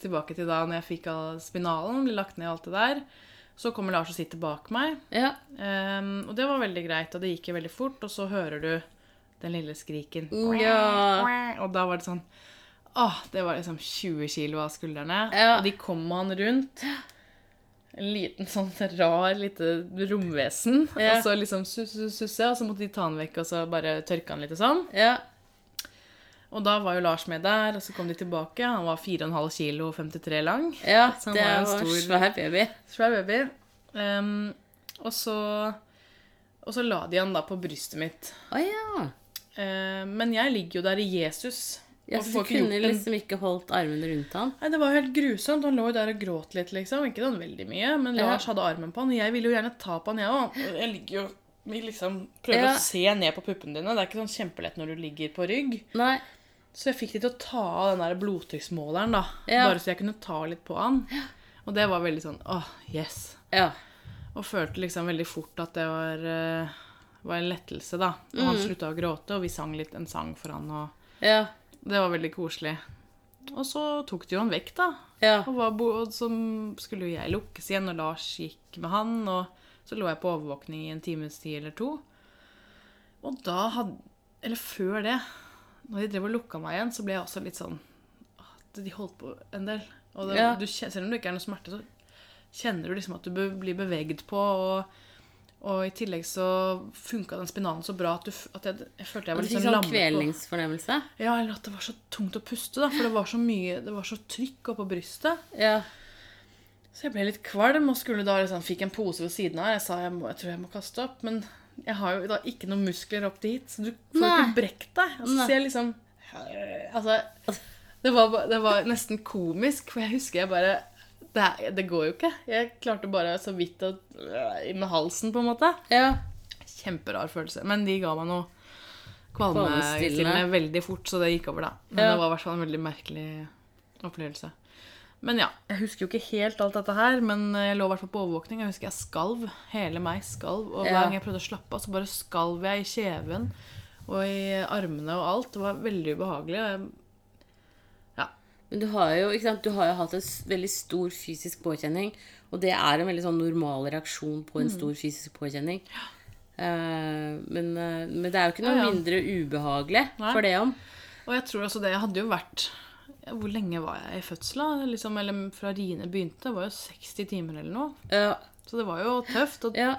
Speaker 2: Tilbake til da når jeg fikk av spinalen, ble lagt ned og alt det der. Så kommer Lars og sitter bak meg.
Speaker 1: Ja.
Speaker 2: Ehm, og det var veldig greit, og det gikk jo veldig fort. Og så hører du den lille skriken.
Speaker 1: Ja.
Speaker 2: Og da var det sånn Åh, det var liksom 20 kilo av skuldrene.
Speaker 1: Ja.
Speaker 2: Og de kom med han rundt. En liten sånn rar lite romvesen.
Speaker 1: Ja.
Speaker 2: Og så liksom sus- sus- susse, og så måtte de ta han vekk og så bare tørke han litt og sånn.
Speaker 1: Ja.
Speaker 2: Og da var jo Lars med der, og så kom de tilbake. Han var 4,5 kilo og 53 lang.
Speaker 1: ja
Speaker 2: Så han
Speaker 1: det
Speaker 2: var
Speaker 1: var
Speaker 2: en
Speaker 1: en
Speaker 2: stor-
Speaker 1: svær baby.
Speaker 2: Svær baby. Ehm, og så Og så la de han da på brystet mitt.
Speaker 1: Å ja.
Speaker 2: Eh, men jeg ligger jo der i Jesus.
Speaker 1: ja
Speaker 2: og
Speaker 1: så
Speaker 2: får
Speaker 1: du
Speaker 2: ikke gjort
Speaker 1: kunne
Speaker 2: en
Speaker 1: liksom ikke holdt armene rundt han?
Speaker 2: Nei, Det var jo helt grusomt. Han lå jo der og gråt litt, liksom. Ikke sånn veldig mye, men
Speaker 1: Ja.
Speaker 2: Lars hadde armen på han. Jeg ville jo gjerne ta på han, jeg òg. Jeg ligger jo vi liksom prøver
Speaker 1: Ja.
Speaker 2: å se ned på puppene dine. Det er ikke sånn kjempelett når du ligger på rygg.
Speaker 1: Nei.
Speaker 2: Så jeg fikk de til å ta av den der blodtrykksmåleren, da.
Speaker 1: Ja.
Speaker 2: Bare så jeg kunne ta litt på han. Og det var veldig sånn åh, yes.
Speaker 1: Ja.
Speaker 2: Og følte liksom veldig fort at det var, eh, var en lettelse, da. Og
Speaker 1: Mm.
Speaker 2: han slutta å gråte, og vi sang litt en sang for han, og
Speaker 1: Ja.
Speaker 2: det var veldig koselig. Og så tok de jo han vekk, da.
Speaker 1: Ja.
Speaker 2: Og, var bo og så skulle jo jeg lukkes igjen, og Lars gikk med han. Og så lå jeg på overvåkning i en times tid eller to. Og da hadde Eller før det, når de drev og lukka meg igjen, så ble jeg også litt sånn at De holdt på en del. Og det,
Speaker 1: Ja.
Speaker 2: du, kjen- selv om det ikke er noe smerte, så kjenner du liksom at du be, blir beveget på. og og i tillegg så funka den spinalen så bra at, du, f- at jeg, jeg følte jeg
Speaker 1: Og du
Speaker 2: var litt
Speaker 1: fikk
Speaker 2: sånn
Speaker 1: sånn
Speaker 2: lammet på
Speaker 1: kvelningsfornemmelse?
Speaker 2: Ja, eller at det var så tungt å puste, da. For det var så mye Det var så trykk oppå brystet.
Speaker 1: Ja.
Speaker 2: Så jeg ble litt kvalm og skulle da liksom, fikk en pose ved siden av. Jeg sa jeg, må, jeg tror jeg må kaste opp, men jeg har jo da ikke noen muskler opp dit, så du får jo
Speaker 1: Nei.
Speaker 2: ikke brekt deg. Og så
Speaker 1: Nei.
Speaker 2: ser jeg liksom Altså, det var, ba- det var nesten komisk, for jeg husker jeg bare det, er- det går jo ikke. Jeg klarte bare så vidt å øh, Med halsen, på en måte.
Speaker 1: Ja.
Speaker 2: Kjemperar følelse. Men de ga meg noe
Speaker 1: Kvalmestillende.
Speaker 2: kvalmestillende veldig fort, så det gikk over, da. Men
Speaker 1: Ja.
Speaker 2: det var i hvert fall en veldig merkelig opplevelse. Men ja, jeg husker jo ikke helt alt dette her, men jeg lå i hvert fall på overvåkning. Jeg husker jeg skalv. Hele meg skalv. Og hver
Speaker 1: Ja.
Speaker 2: gang jeg prøvde å slappe av, så bare skalv jeg i kjeven og i armene og alt. Det var veldig ubehagelig. Og jeg, ja.
Speaker 1: Men du har jo, ikke sant, du har jo hatt en s- veldig stor fysisk påkjenning, og det er en veldig sånn normal reaksjon på
Speaker 2: Mm.
Speaker 1: en stor fysisk påkjenning. Eh, men, eh, men det er jo ikke noe
Speaker 2: Ja, ja.
Speaker 1: mindre ubehagelig
Speaker 2: Nei.
Speaker 1: for det om.
Speaker 2: Og jeg tror også det hadde jo vært ja, Hvor lenge var jeg i fødsel, da? Liksom, eller fra riene begynte? Det var jo 60 timer eller noe.
Speaker 1: Ja,
Speaker 2: Så det var jo tøft. Og
Speaker 1: Eh, ja,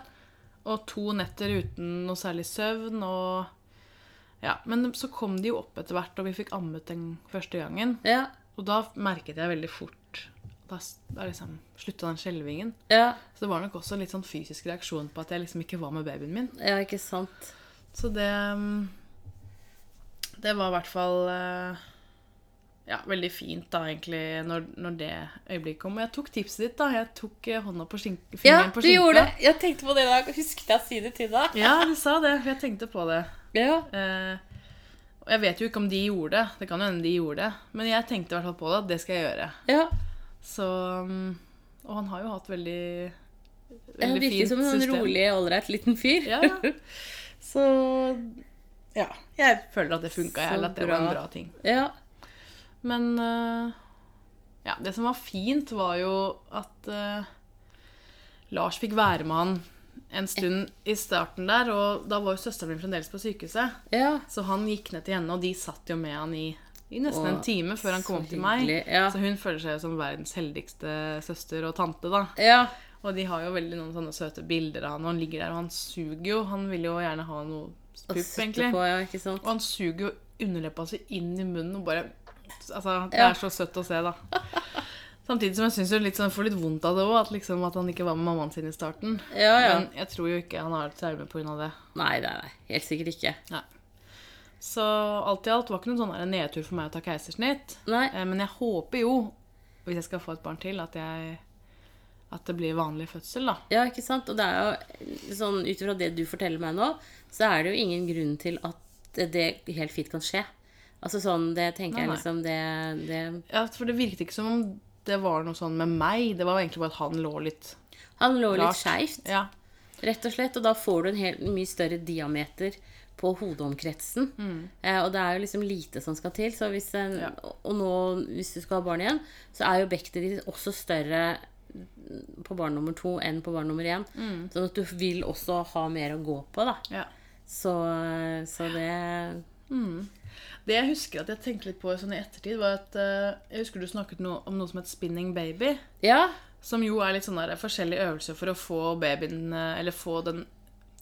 Speaker 2: Og to netter uten noe særlig søvn og Ja. Men så kom de jo opp etter hvert, og vi fikk ammet den første gangen.
Speaker 1: ja,
Speaker 2: Og da merket jeg veldig fort Da, s- da liksom slutta den skjelvingen.
Speaker 1: ja,
Speaker 2: Så det var nok også litt sånn fysisk reaksjon på at jeg liksom ikke var med babyen min.
Speaker 1: ja, ikke sant.
Speaker 2: Så det mm, Det var i hvert fall eh, ja, veldig fint, da, egentlig, når, når det øyeblikket kom. Og jeg tok tipset ditt, da. Jeg tok eh, hånda på skink fingeren på skinka.
Speaker 1: Jeg tenkte på det i dag, husket jeg å si det til deg.
Speaker 2: Ja, du sa det. for Jeg tenkte på det.
Speaker 1: Ja,
Speaker 2: Eh, og jeg vet jo ikke om de gjorde det. Det kan jo hende de gjorde det. Men jeg tenkte i hvert fall på det, at det skal jeg gjøre.
Speaker 1: ja.
Speaker 2: Så, mm, og han har jo hatt veldig,
Speaker 1: Han
Speaker 2: veldig
Speaker 1: virker
Speaker 2: fint
Speaker 1: som en sånn
Speaker 2: system.
Speaker 1: rolig, ålreit liten fyr.
Speaker 2: Ja, ja. Så ja. Jeg føler at det funka,
Speaker 1: Så
Speaker 2: eller at det var en
Speaker 1: bra.
Speaker 2: bra ting.
Speaker 1: ja.
Speaker 2: Men eh, ja, det som var fint, var jo at eh, Lars fikk være med han en stund i starten der, og da var jo søsteren min fremdeles på sykehuset.
Speaker 1: ja.
Speaker 2: Så han gikk ned til henne, og de satt jo med han i, i nesten
Speaker 1: Åh,
Speaker 2: en time før han kom
Speaker 1: så
Speaker 2: opp til meg.
Speaker 1: hyggelig, ja.
Speaker 2: Så hun føler seg jo som verdens heldigste søster og tante, da.
Speaker 1: Ja,
Speaker 2: Og de har jo veldig noen sånne søte bilder av han, og han ligger der, og han suger jo. Han vil jo gjerne ha noe
Speaker 1: og
Speaker 2: pupp,
Speaker 1: sitte
Speaker 2: egentlig.
Speaker 1: på, ja, ikke sant.
Speaker 2: Og han suger jo underleppa si inn i munnen og bare Altså, det
Speaker 1: Ja.
Speaker 2: er så søtt å se, da. Samtidig som jeg syns jo litt sånn, jeg får litt vondt av det òg, at, liksom, at han ikke var med mammaen sin i starten.
Speaker 1: Ja, ja.
Speaker 2: Men jeg tror jo ikke han har et traume pga. det.
Speaker 1: Nei, nei, nei, helt sikkert ikke.
Speaker 2: Så alt i alt var ikke noen sånn der nedtur for meg å ta keisersnitt.
Speaker 1: Nei,
Speaker 2: Eh, Men jeg håper jo, hvis jeg skal få et barn til, at, jeg, at det blir vanlig fødsel, da.
Speaker 1: Ja, ikke sant? Og det er jo sånn, ut ifra det du forteller meg nå, så er det jo ingen grunn til at det helt fint kan skje. Altså sånn, det tenker
Speaker 2: Nei, nei.
Speaker 1: jeg liksom det, det
Speaker 2: Ja, for det virket ikke som om det var noe sånn med meg. Det var egentlig bare at han lå litt
Speaker 1: Han lå
Speaker 2: Rart.
Speaker 1: litt skeivt,
Speaker 2: Ja.
Speaker 1: rett og slett, og da får du en helt mye større diameter på hodeomkretsen. Eh, og det er jo liksom lite som skal til. Så hvis en,
Speaker 2: Mm. Ja.
Speaker 1: Og nå, hvis du skal ha barn igjen, så er jo bektet ditt også større på barn nummer to enn på barn nummer én.
Speaker 2: Mm.
Speaker 1: Sånn at du vil også ha mer å gå på, da.
Speaker 2: ja.
Speaker 1: Så, så det
Speaker 2: Det jeg husker at jeg tenkte litt på sånn i ettertid, var at eh, jeg husker du snakket noe om noe som het spinning baby.
Speaker 1: Ja.
Speaker 2: Som jo er litt sånn der forskjellige øvelser for å få babyen eh, Eller få den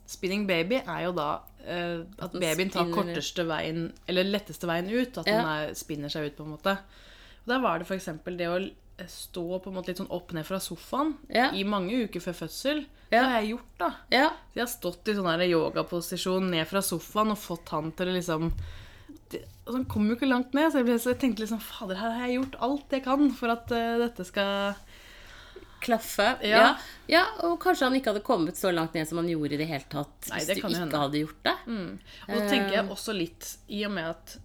Speaker 2: Spinning baby er jo da eh, at
Speaker 1: den
Speaker 2: babyen tar
Speaker 1: spinner.
Speaker 2: korteste veien Eller letteste veien ut. At
Speaker 1: Ja.
Speaker 2: den er, spinner seg ut, på en måte. Og Der var det f.eks. det å l- eh, stå på en måte litt sånn opp ned fra sofaen
Speaker 1: Ja.
Speaker 2: i mange uker før fødsel. Det
Speaker 1: Ja.
Speaker 2: har jeg gjort, da.
Speaker 1: ja.
Speaker 2: Så jeg har stått i sånn der yogaposisjon ned fra sofaen og fått han til å liksom det, altså Han kom jo ikke langt ned, så jeg, ble, så jeg tenkte liksom Fader, her har jeg gjort alt jeg kan for at eh, dette skal
Speaker 1: Klaffe.
Speaker 2: Ja.
Speaker 1: Ja. ja. Og kanskje han ikke hadde kommet så langt ned som han gjorde i det hele tatt
Speaker 2: Nei,
Speaker 1: hvis
Speaker 2: det
Speaker 1: du
Speaker 2: kan jo
Speaker 1: ikke
Speaker 2: hende. Mm.
Speaker 1: hadde gjort det.
Speaker 2: Og så tenker
Speaker 1: Eh.
Speaker 2: jeg også litt, i og med at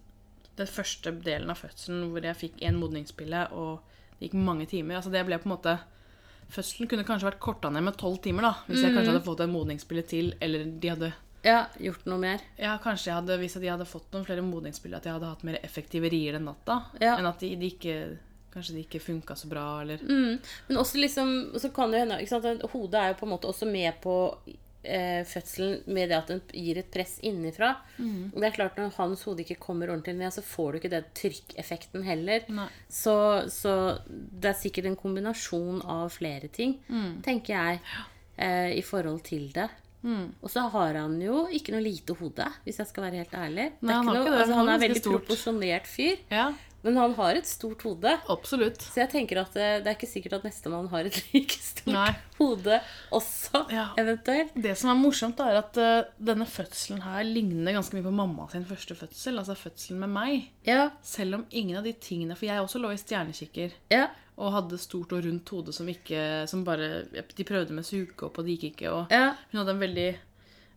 Speaker 2: den første delen av fødselen hvor jeg fikk en modningspille, og det gikk mange timer altså det ble på en måte, Fødselen kunne kanskje vært korta ned med tolv timer, da, hvis jeg kanskje
Speaker 1: Mm.
Speaker 2: hadde fått en modningspille til. Eller de hadde,
Speaker 1: Ja, gjort noe mer.
Speaker 2: ja, kanskje jeg hadde, hvis jeg hadde fått noen flere modningspiller, at jeg hadde hatt mer effektive rier den natta.
Speaker 1: Ja.
Speaker 2: Enn at de, de ikke Kanskje de ikke funka så bra, eller
Speaker 1: Mm. Men også liksom, så kan det jo hende ikke sant, at Hodet er jo på en måte også med på eh, fødselen med det at den gir et press innenfra.
Speaker 2: Mhm.
Speaker 1: Og det er klart Når hans hode ikke kommer ordentlig ned, så får du ikke den trykkeffekten heller.
Speaker 2: Nei.
Speaker 1: Så, så det er sikkert en kombinasjon av flere ting,
Speaker 2: Mhm.
Speaker 1: tenker jeg, eh, i forhold til det.
Speaker 2: Mhm.
Speaker 1: Og så har han jo ikke noe lite hode, hvis jeg skal være helt ærlig. Det er
Speaker 2: Nei, han har
Speaker 1: noe,
Speaker 2: ikke det.
Speaker 1: Altså,
Speaker 2: Han
Speaker 1: han
Speaker 2: er
Speaker 1: er
Speaker 2: ganske
Speaker 1: veldig
Speaker 2: stort.
Speaker 1: proporsjonert fyr,
Speaker 2: Ja,
Speaker 1: men han har et stort hode.
Speaker 2: absolutt.
Speaker 1: Så jeg tenker at eh, det er ikke sikkert at nestemann har et like stort
Speaker 2: Nei.
Speaker 1: hode også,
Speaker 2: Ja.
Speaker 1: eventuelt.
Speaker 2: Det som er morsomt, da, er at eh, denne fødselen her ligner ganske mye på mamma sin første fødsel. Altså fødselen med meg.
Speaker 1: Ja,
Speaker 2: Selv om ingen av de tingene For jeg også lå i stjernekikker
Speaker 1: ja,
Speaker 2: og hadde stort og rundt hode som ikke Som bare De prøvde med sugekopp, og det gikk ikke. Og
Speaker 1: ja.
Speaker 2: hun hadde en veldig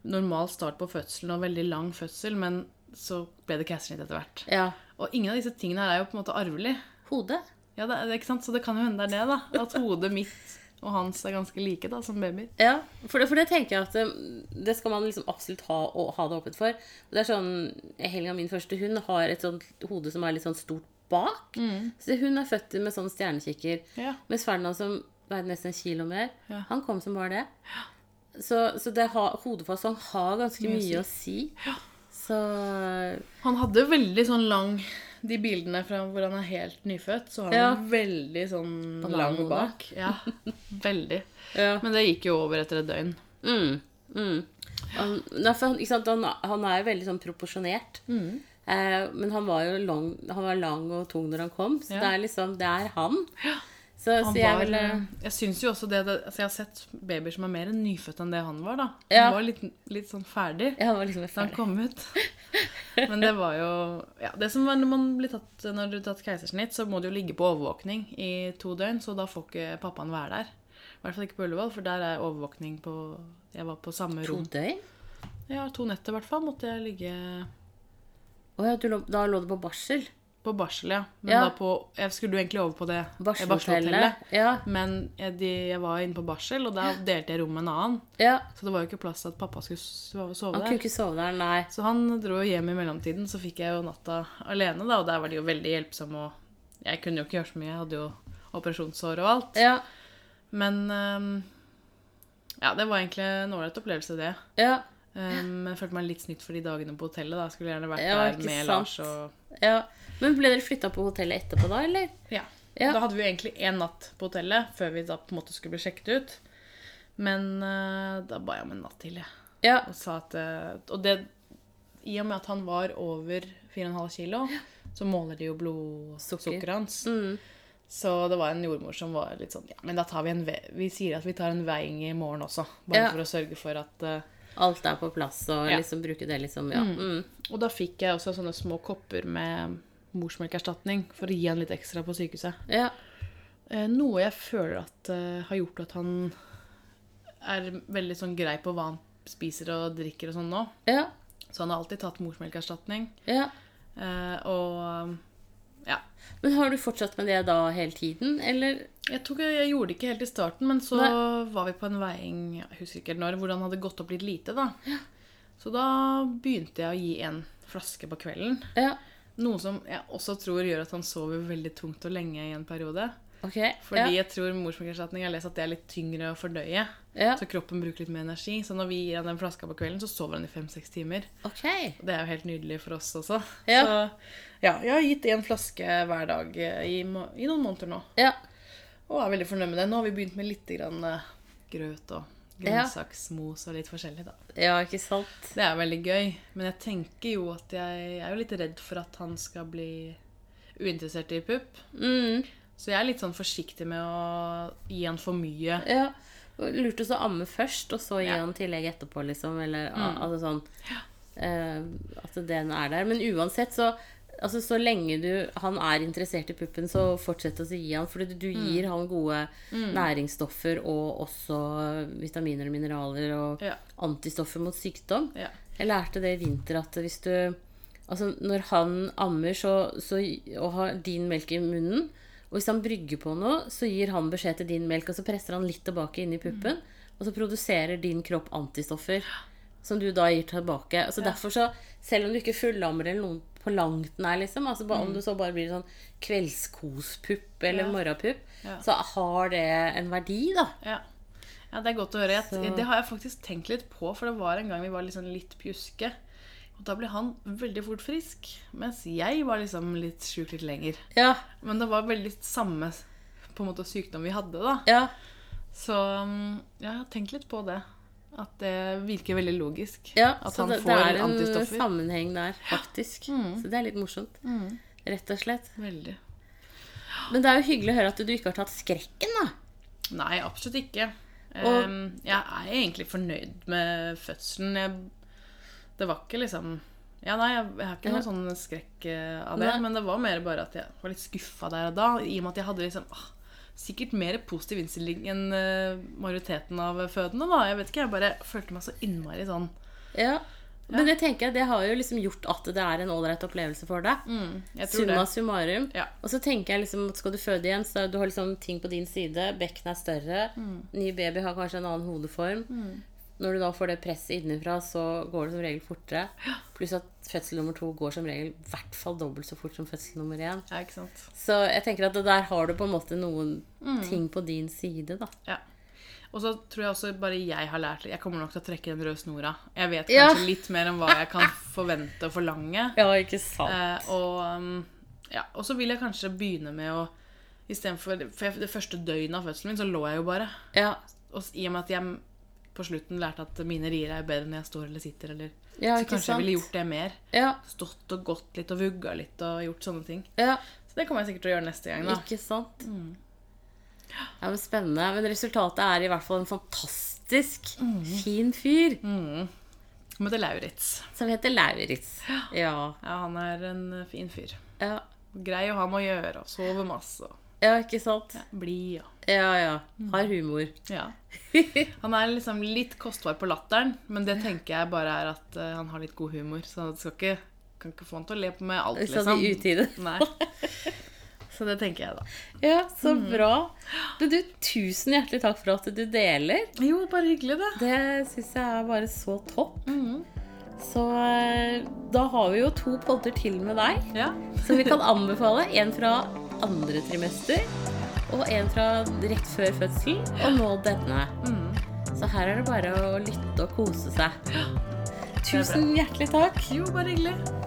Speaker 2: normal start på fødselen og veldig lang fødsel, men så ble det keisersnitt etter hvert.
Speaker 1: ja.
Speaker 2: Og ingen av disse tingene her er jo på en måte arvelig.
Speaker 1: Hode?
Speaker 2: Ja, det, det, er ikke sant? Så det kan jo hende det er det, da. At hodet mitt og hans er ganske like da, som babyer.
Speaker 1: Ja, for det, for det tenker jeg at eh, det skal man liksom absolutt ha, og ha det åpent for. Det er sånn, Helga, min første hund, har et sånt hode som er litt sånn stort bak.
Speaker 2: Mm.
Speaker 1: Så hun er født med sånn stjernekikker.
Speaker 2: Ja.
Speaker 1: Mens Ferdinand, som veide nesten en kilo mer,
Speaker 2: Ja.
Speaker 1: han kom som bare det. Så, så det ha, hodefasong har ganske
Speaker 2: Mye å
Speaker 1: mye, å si. Så
Speaker 2: Han hadde veldig sånn lang De bildene fra hvor han er helt nyfødt, så har han veldig sånn lang
Speaker 1: Bananhode.
Speaker 2: bak. Ja, veldig.
Speaker 1: ja.
Speaker 2: Men det gikk jo over etter et døgn.
Speaker 1: Mm. Mm. Han, nei, for han, ikke sant? Han, han er jo veldig sånn proporsjonert.
Speaker 2: Mm.
Speaker 1: Eh, men han var jo lang, han var lang og tung når han kom, så
Speaker 2: Ja.
Speaker 1: det er liksom Det er han. Så,
Speaker 2: Han
Speaker 1: så jeg
Speaker 2: var, eh,
Speaker 1: ville
Speaker 2: jeg synes jo også det, det altså Jeg har sett babyer som er mer nyfødt enn det han var. da Han
Speaker 1: Ja.
Speaker 2: var litt, litt sånn ferdig
Speaker 1: Jeg var liksom
Speaker 2: da han
Speaker 1: ferdig.
Speaker 2: kom ut. Men det var jo ja, Det som var når man blir tatt Når du har tatt keisersnitt, så må du jo ligge på overvåkning i to døgn, så da får ikke pappaen være der. I hvert fall ikke på Ullevål, for der er overvåkning på Jeg var på samme
Speaker 1: To
Speaker 2: rom.
Speaker 1: døgn?
Speaker 2: Ja, to netter i hvert fall måtte jeg ligge
Speaker 1: Å ja, du lå, da lå du på barsel?
Speaker 2: på barsel, ja. Men
Speaker 1: Ja.
Speaker 2: da på Jeg skulle jo egentlig over på det
Speaker 1: Barselhotellet? Ja,
Speaker 2: Men jeg, de, jeg var inne på barsel, og da delte jeg rom med en annen.
Speaker 1: ja.
Speaker 2: Så det var jo ikke plass til at pappa skulle sove, sove
Speaker 1: Han kunne
Speaker 2: der.
Speaker 1: ikke sove der, nei.
Speaker 2: Så han dro jo hjem i mellomtiden, så fikk jeg jo natta alene, da. Og der var de jo veldig hjelpsomme, og jeg kunne jo ikke gjøre så mye. Jeg hadde jo operasjonssår og alt.
Speaker 1: Ja,
Speaker 2: Men ehm, ja, det var egentlig en ålreit opplevelse, det.
Speaker 1: ja,
Speaker 2: Um, jeg følte meg litt snytt for de dagene på hotellet. da. Jeg skulle gjerne vært
Speaker 1: Ja,
Speaker 2: der
Speaker 1: ikke
Speaker 2: med
Speaker 1: sant.
Speaker 2: Lars og
Speaker 1: ja. Men ble dere flytta på hotellet etterpå da, eller?
Speaker 2: ja.
Speaker 1: Ja.
Speaker 2: Da hadde vi jo egentlig én natt på hotellet før vi da på en måte skulle bli sjekket ut. Men eh, da ba jeg om en natt til, jeg.
Speaker 1: Ja.
Speaker 2: Og sa at eh, Og det I og med at han var over 4,5 kilo, så måler de jo blodsukkeret hans.
Speaker 1: Mm.
Speaker 2: Så det var en jordmor som var litt sånn Ja, men da tar vi en ve Vi sier at vi tar en veiing i morgen også, bare
Speaker 1: Ja.
Speaker 2: for å sørge for at eh,
Speaker 1: Alt er på plass, og
Speaker 2: Ja.
Speaker 1: liksom bruke det liksom Ja. Mm.
Speaker 2: Og da fikk jeg også sånne små kopper med morsmelkerstatning for å gi han litt ekstra på sykehuset.
Speaker 1: ja.
Speaker 2: Eh, noe jeg føler at eh, har gjort at han er veldig sånn grei på hva han spiser og drikker og sånn nå.
Speaker 1: ja.
Speaker 2: Så han har alltid tatt morsmelkerstatning.
Speaker 1: ja.
Speaker 2: Eh, og ja.
Speaker 1: Men har du fortsatt med det da hele tiden, eller?
Speaker 2: Jeg, tok, jeg gjorde det ikke helt i starten, men så
Speaker 1: Nei.
Speaker 2: var vi på en veiing jeg husker ikke helt når, hvor han hadde gått opp litt lite. da. Så da begynte jeg å gi en flaske på kvelden.
Speaker 1: Ja.
Speaker 2: Noe som jeg også tror gjør at han sover veldig tungt og lenge i en periode.
Speaker 1: Å Ok,
Speaker 2: Fordi jeg tror morsmelkerstatning jeg har lest at det er litt tyngre å fordøye.
Speaker 1: ja. ja.
Speaker 2: Så kroppen bruker litt mer energi. Så når vi gir han den flaska på kvelden, så sover han i fem-seks timer.
Speaker 1: Ok.
Speaker 2: Og det er jo helt nydelig for oss også.
Speaker 1: Ja.
Speaker 2: Så ja, jeg har gitt én flaske hver dag eh, i, må- i noen måneder nå.
Speaker 1: Ja.
Speaker 2: Og er veldig fornøyd med det. Nå har vi begynt med litt grann, eh, grøt og
Speaker 1: Ja.
Speaker 2: grønnsaksmos og litt forskjellig, da.
Speaker 1: ja, ikke sant?
Speaker 2: Det er veldig gøy. Men jeg tenker jo at jeg, jeg er jo litt redd for at han skal bli uinteressert i pupp.
Speaker 1: Mm,
Speaker 2: Så jeg er litt sånn forsiktig med å gi han for mye.
Speaker 1: ja. Lurt også å amme først, og så gi
Speaker 2: Ja. Mm.
Speaker 1: han tillegg etterpå, liksom. Eller al- altså sånn eh, At den er der. Men uansett, så Altså, Så lenge du, han er interessert i puppen, så fortsett å gi han. For du
Speaker 2: Mm.
Speaker 1: gir han gode næringsstoffer og også vitaminer og mineraler og
Speaker 2: Ja.
Speaker 1: antistoffer mot sykdom.
Speaker 2: Ja.
Speaker 1: Jeg lærte det i vinter at hvis du Altså, når han ammer så, så, og har din melk i munnen, og hvis han brygger på noe, så gir han beskjed til din melk, og så presser han litt tilbake inn i puppen,
Speaker 2: Mm.
Speaker 1: og så produserer din kropp antistoffer som du da gir tilbake. Altså derfor så, selv om du ikke fullammer eller noen på langt nær, liksom, altså bare, om du så bare blir sånn kveldskospupp eller
Speaker 2: Mm. Ja.
Speaker 1: morgenpupp,
Speaker 2: Ja.
Speaker 1: så har det en verdi, da.
Speaker 2: Ja. ja, det er godt å høre. Jeg,
Speaker 1: Så-
Speaker 2: det har jeg faktisk tenkt litt på, for det var en gang vi var liksom litt pjuske. Og da ble han veldig fort frisk, mens jeg var liksom litt sjuk litt lenger.
Speaker 1: Ja,
Speaker 2: Men det var veldig samme på en måte sykdom vi hadde, da.
Speaker 1: ja,
Speaker 2: Så mm, ja, jeg har tenkt litt på det. At det virker veldig logisk.
Speaker 1: ja.
Speaker 2: at
Speaker 1: Så
Speaker 2: han
Speaker 1: det, det
Speaker 2: får
Speaker 1: er en
Speaker 2: antistoffer. Mm.
Speaker 1: sammenheng der, faktisk. Så det er litt morsomt. Rett og slett.
Speaker 2: Veldig.
Speaker 1: Men det er jo hyggelig å høre at du ikke har tatt skrekken, da.
Speaker 2: Nei, absolutt ikke.
Speaker 1: Og-
Speaker 2: Ehm, jeg er egentlig fornøyd med fødselen. Jeg, det var ikke liksom Ja, nei, jeg, jeg har ikke noen
Speaker 1: Ja.
Speaker 2: sånn skrekk eh, av det.
Speaker 1: Nei.
Speaker 2: Men det var mer bare at jeg var litt skuffa der og da. I og med at jeg hadde liksom ah, sikkert mer positiv innstilling enn eh, majoriteten av fødende. da. Jeg vet ikke, jeg bare følte meg så innmari sånn
Speaker 1: Ja. Men det tenker jeg, det har jo liksom gjort at det er en ålreit opplevelse for deg.
Speaker 2: Mm, Jeg tror
Speaker 1: Summa
Speaker 2: det.
Speaker 1: summarum.
Speaker 2: Ja.
Speaker 1: Og så tenker jeg liksom at skal du føde igjen, så du har liksom ting på din side. Bekken er større.
Speaker 2: Mm.
Speaker 1: Ny baby har kanskje en annen hodeform. Når du da får det presset innenfra, så går det som regel fortere. Pluss at fødsel nummer to går som regel i hvert fall dobbelt så fort som fødsel nummer én.
Speaker 2: Ja, ikke sant.
Speaker 1: Så jeg tenker at det der har du på en måte noen ting på din side, da.
Speaker 2: Ja. Og så tror jeg også bare jeg har lært litt. Jeg kommer nok til å trekke den røde snora. Jeg vet
Speaker 1: Ja.
Speaker 2: kanskje litt mer om hva jeg kan forvente og forlange.
Speaker 1: Ja, ikke sant?
Speaker 2: Eh, og um, ja, og så vil jeg kanskje begynne med å Istedenfor For jeg, det første døgnet av fødselen min så lå jeg jo bare.
Speaker 1: Ja.
Speaker 2: Og s- i og med at jeg på slutten lærte at mine rier er bedre når jeg står eller sitter, eller
Speaker 1: Ja,
Speaker 2: Så
Speaker 1: ikke
Speaker 2: kanskje jeg ville
Speaker 1: sant?
Speaker 2: gjort det mer.
Speaker 1: ja.
Speaker 2: Stått og gått litt og vugga litt og gjort sånne ting.
Speaker 1: ja.
Speaker 2: Så det kommer jeg sikkert til å gjøre neste gang, da.
Speaker 1: Ikke sant? Ja, men spennende. Men resultatet er i hvert fall en fantastisk fin fyr
Speaker 2: Men det er Lauritz.
Speaker 1: som heter Lauritz. Ja.
Speaker 2: Ja, han er en eh, fin fyr.
Speaker 1: Ja,
Speaker 2: Grei å ha med å gjøre, og sover masse, og
Speaker 1: ja ikke sant?
Speaker 2: blid og
Speaker 1: Ja, ja. Har humor.
Speaker 2: Ja. Han er liksom litt kostbar på latteren, men det tenker jeg bare er at eh, han har litt god humor. Så det skal ikke, kan ikke få han til å le på med alt,
Speaker 1: Sånn i
Speaker 2: liksom.
Speaker 1: utide.
Speaker 2: Nei. Så det tenker jeg, da.
Speaker 1: Ja, så bra. Men du, tusen hjertelig takk for at du deler.
Speaker 2: Jo, bare hyggelig, det.
Speaker 1: Det syns jeg er bare så topp. Så eh, da har vi jo to podder til med deg.
Speaker 2: Ja.
Speaker 1: som vi kan anbefale. En fra andre trimester, og en fra rett før fødsel, og nå denne. Så her er det bare å lytte og kose seg. Tusen hjertelig takk.
Speaker 2: Jo, bare hyggelig.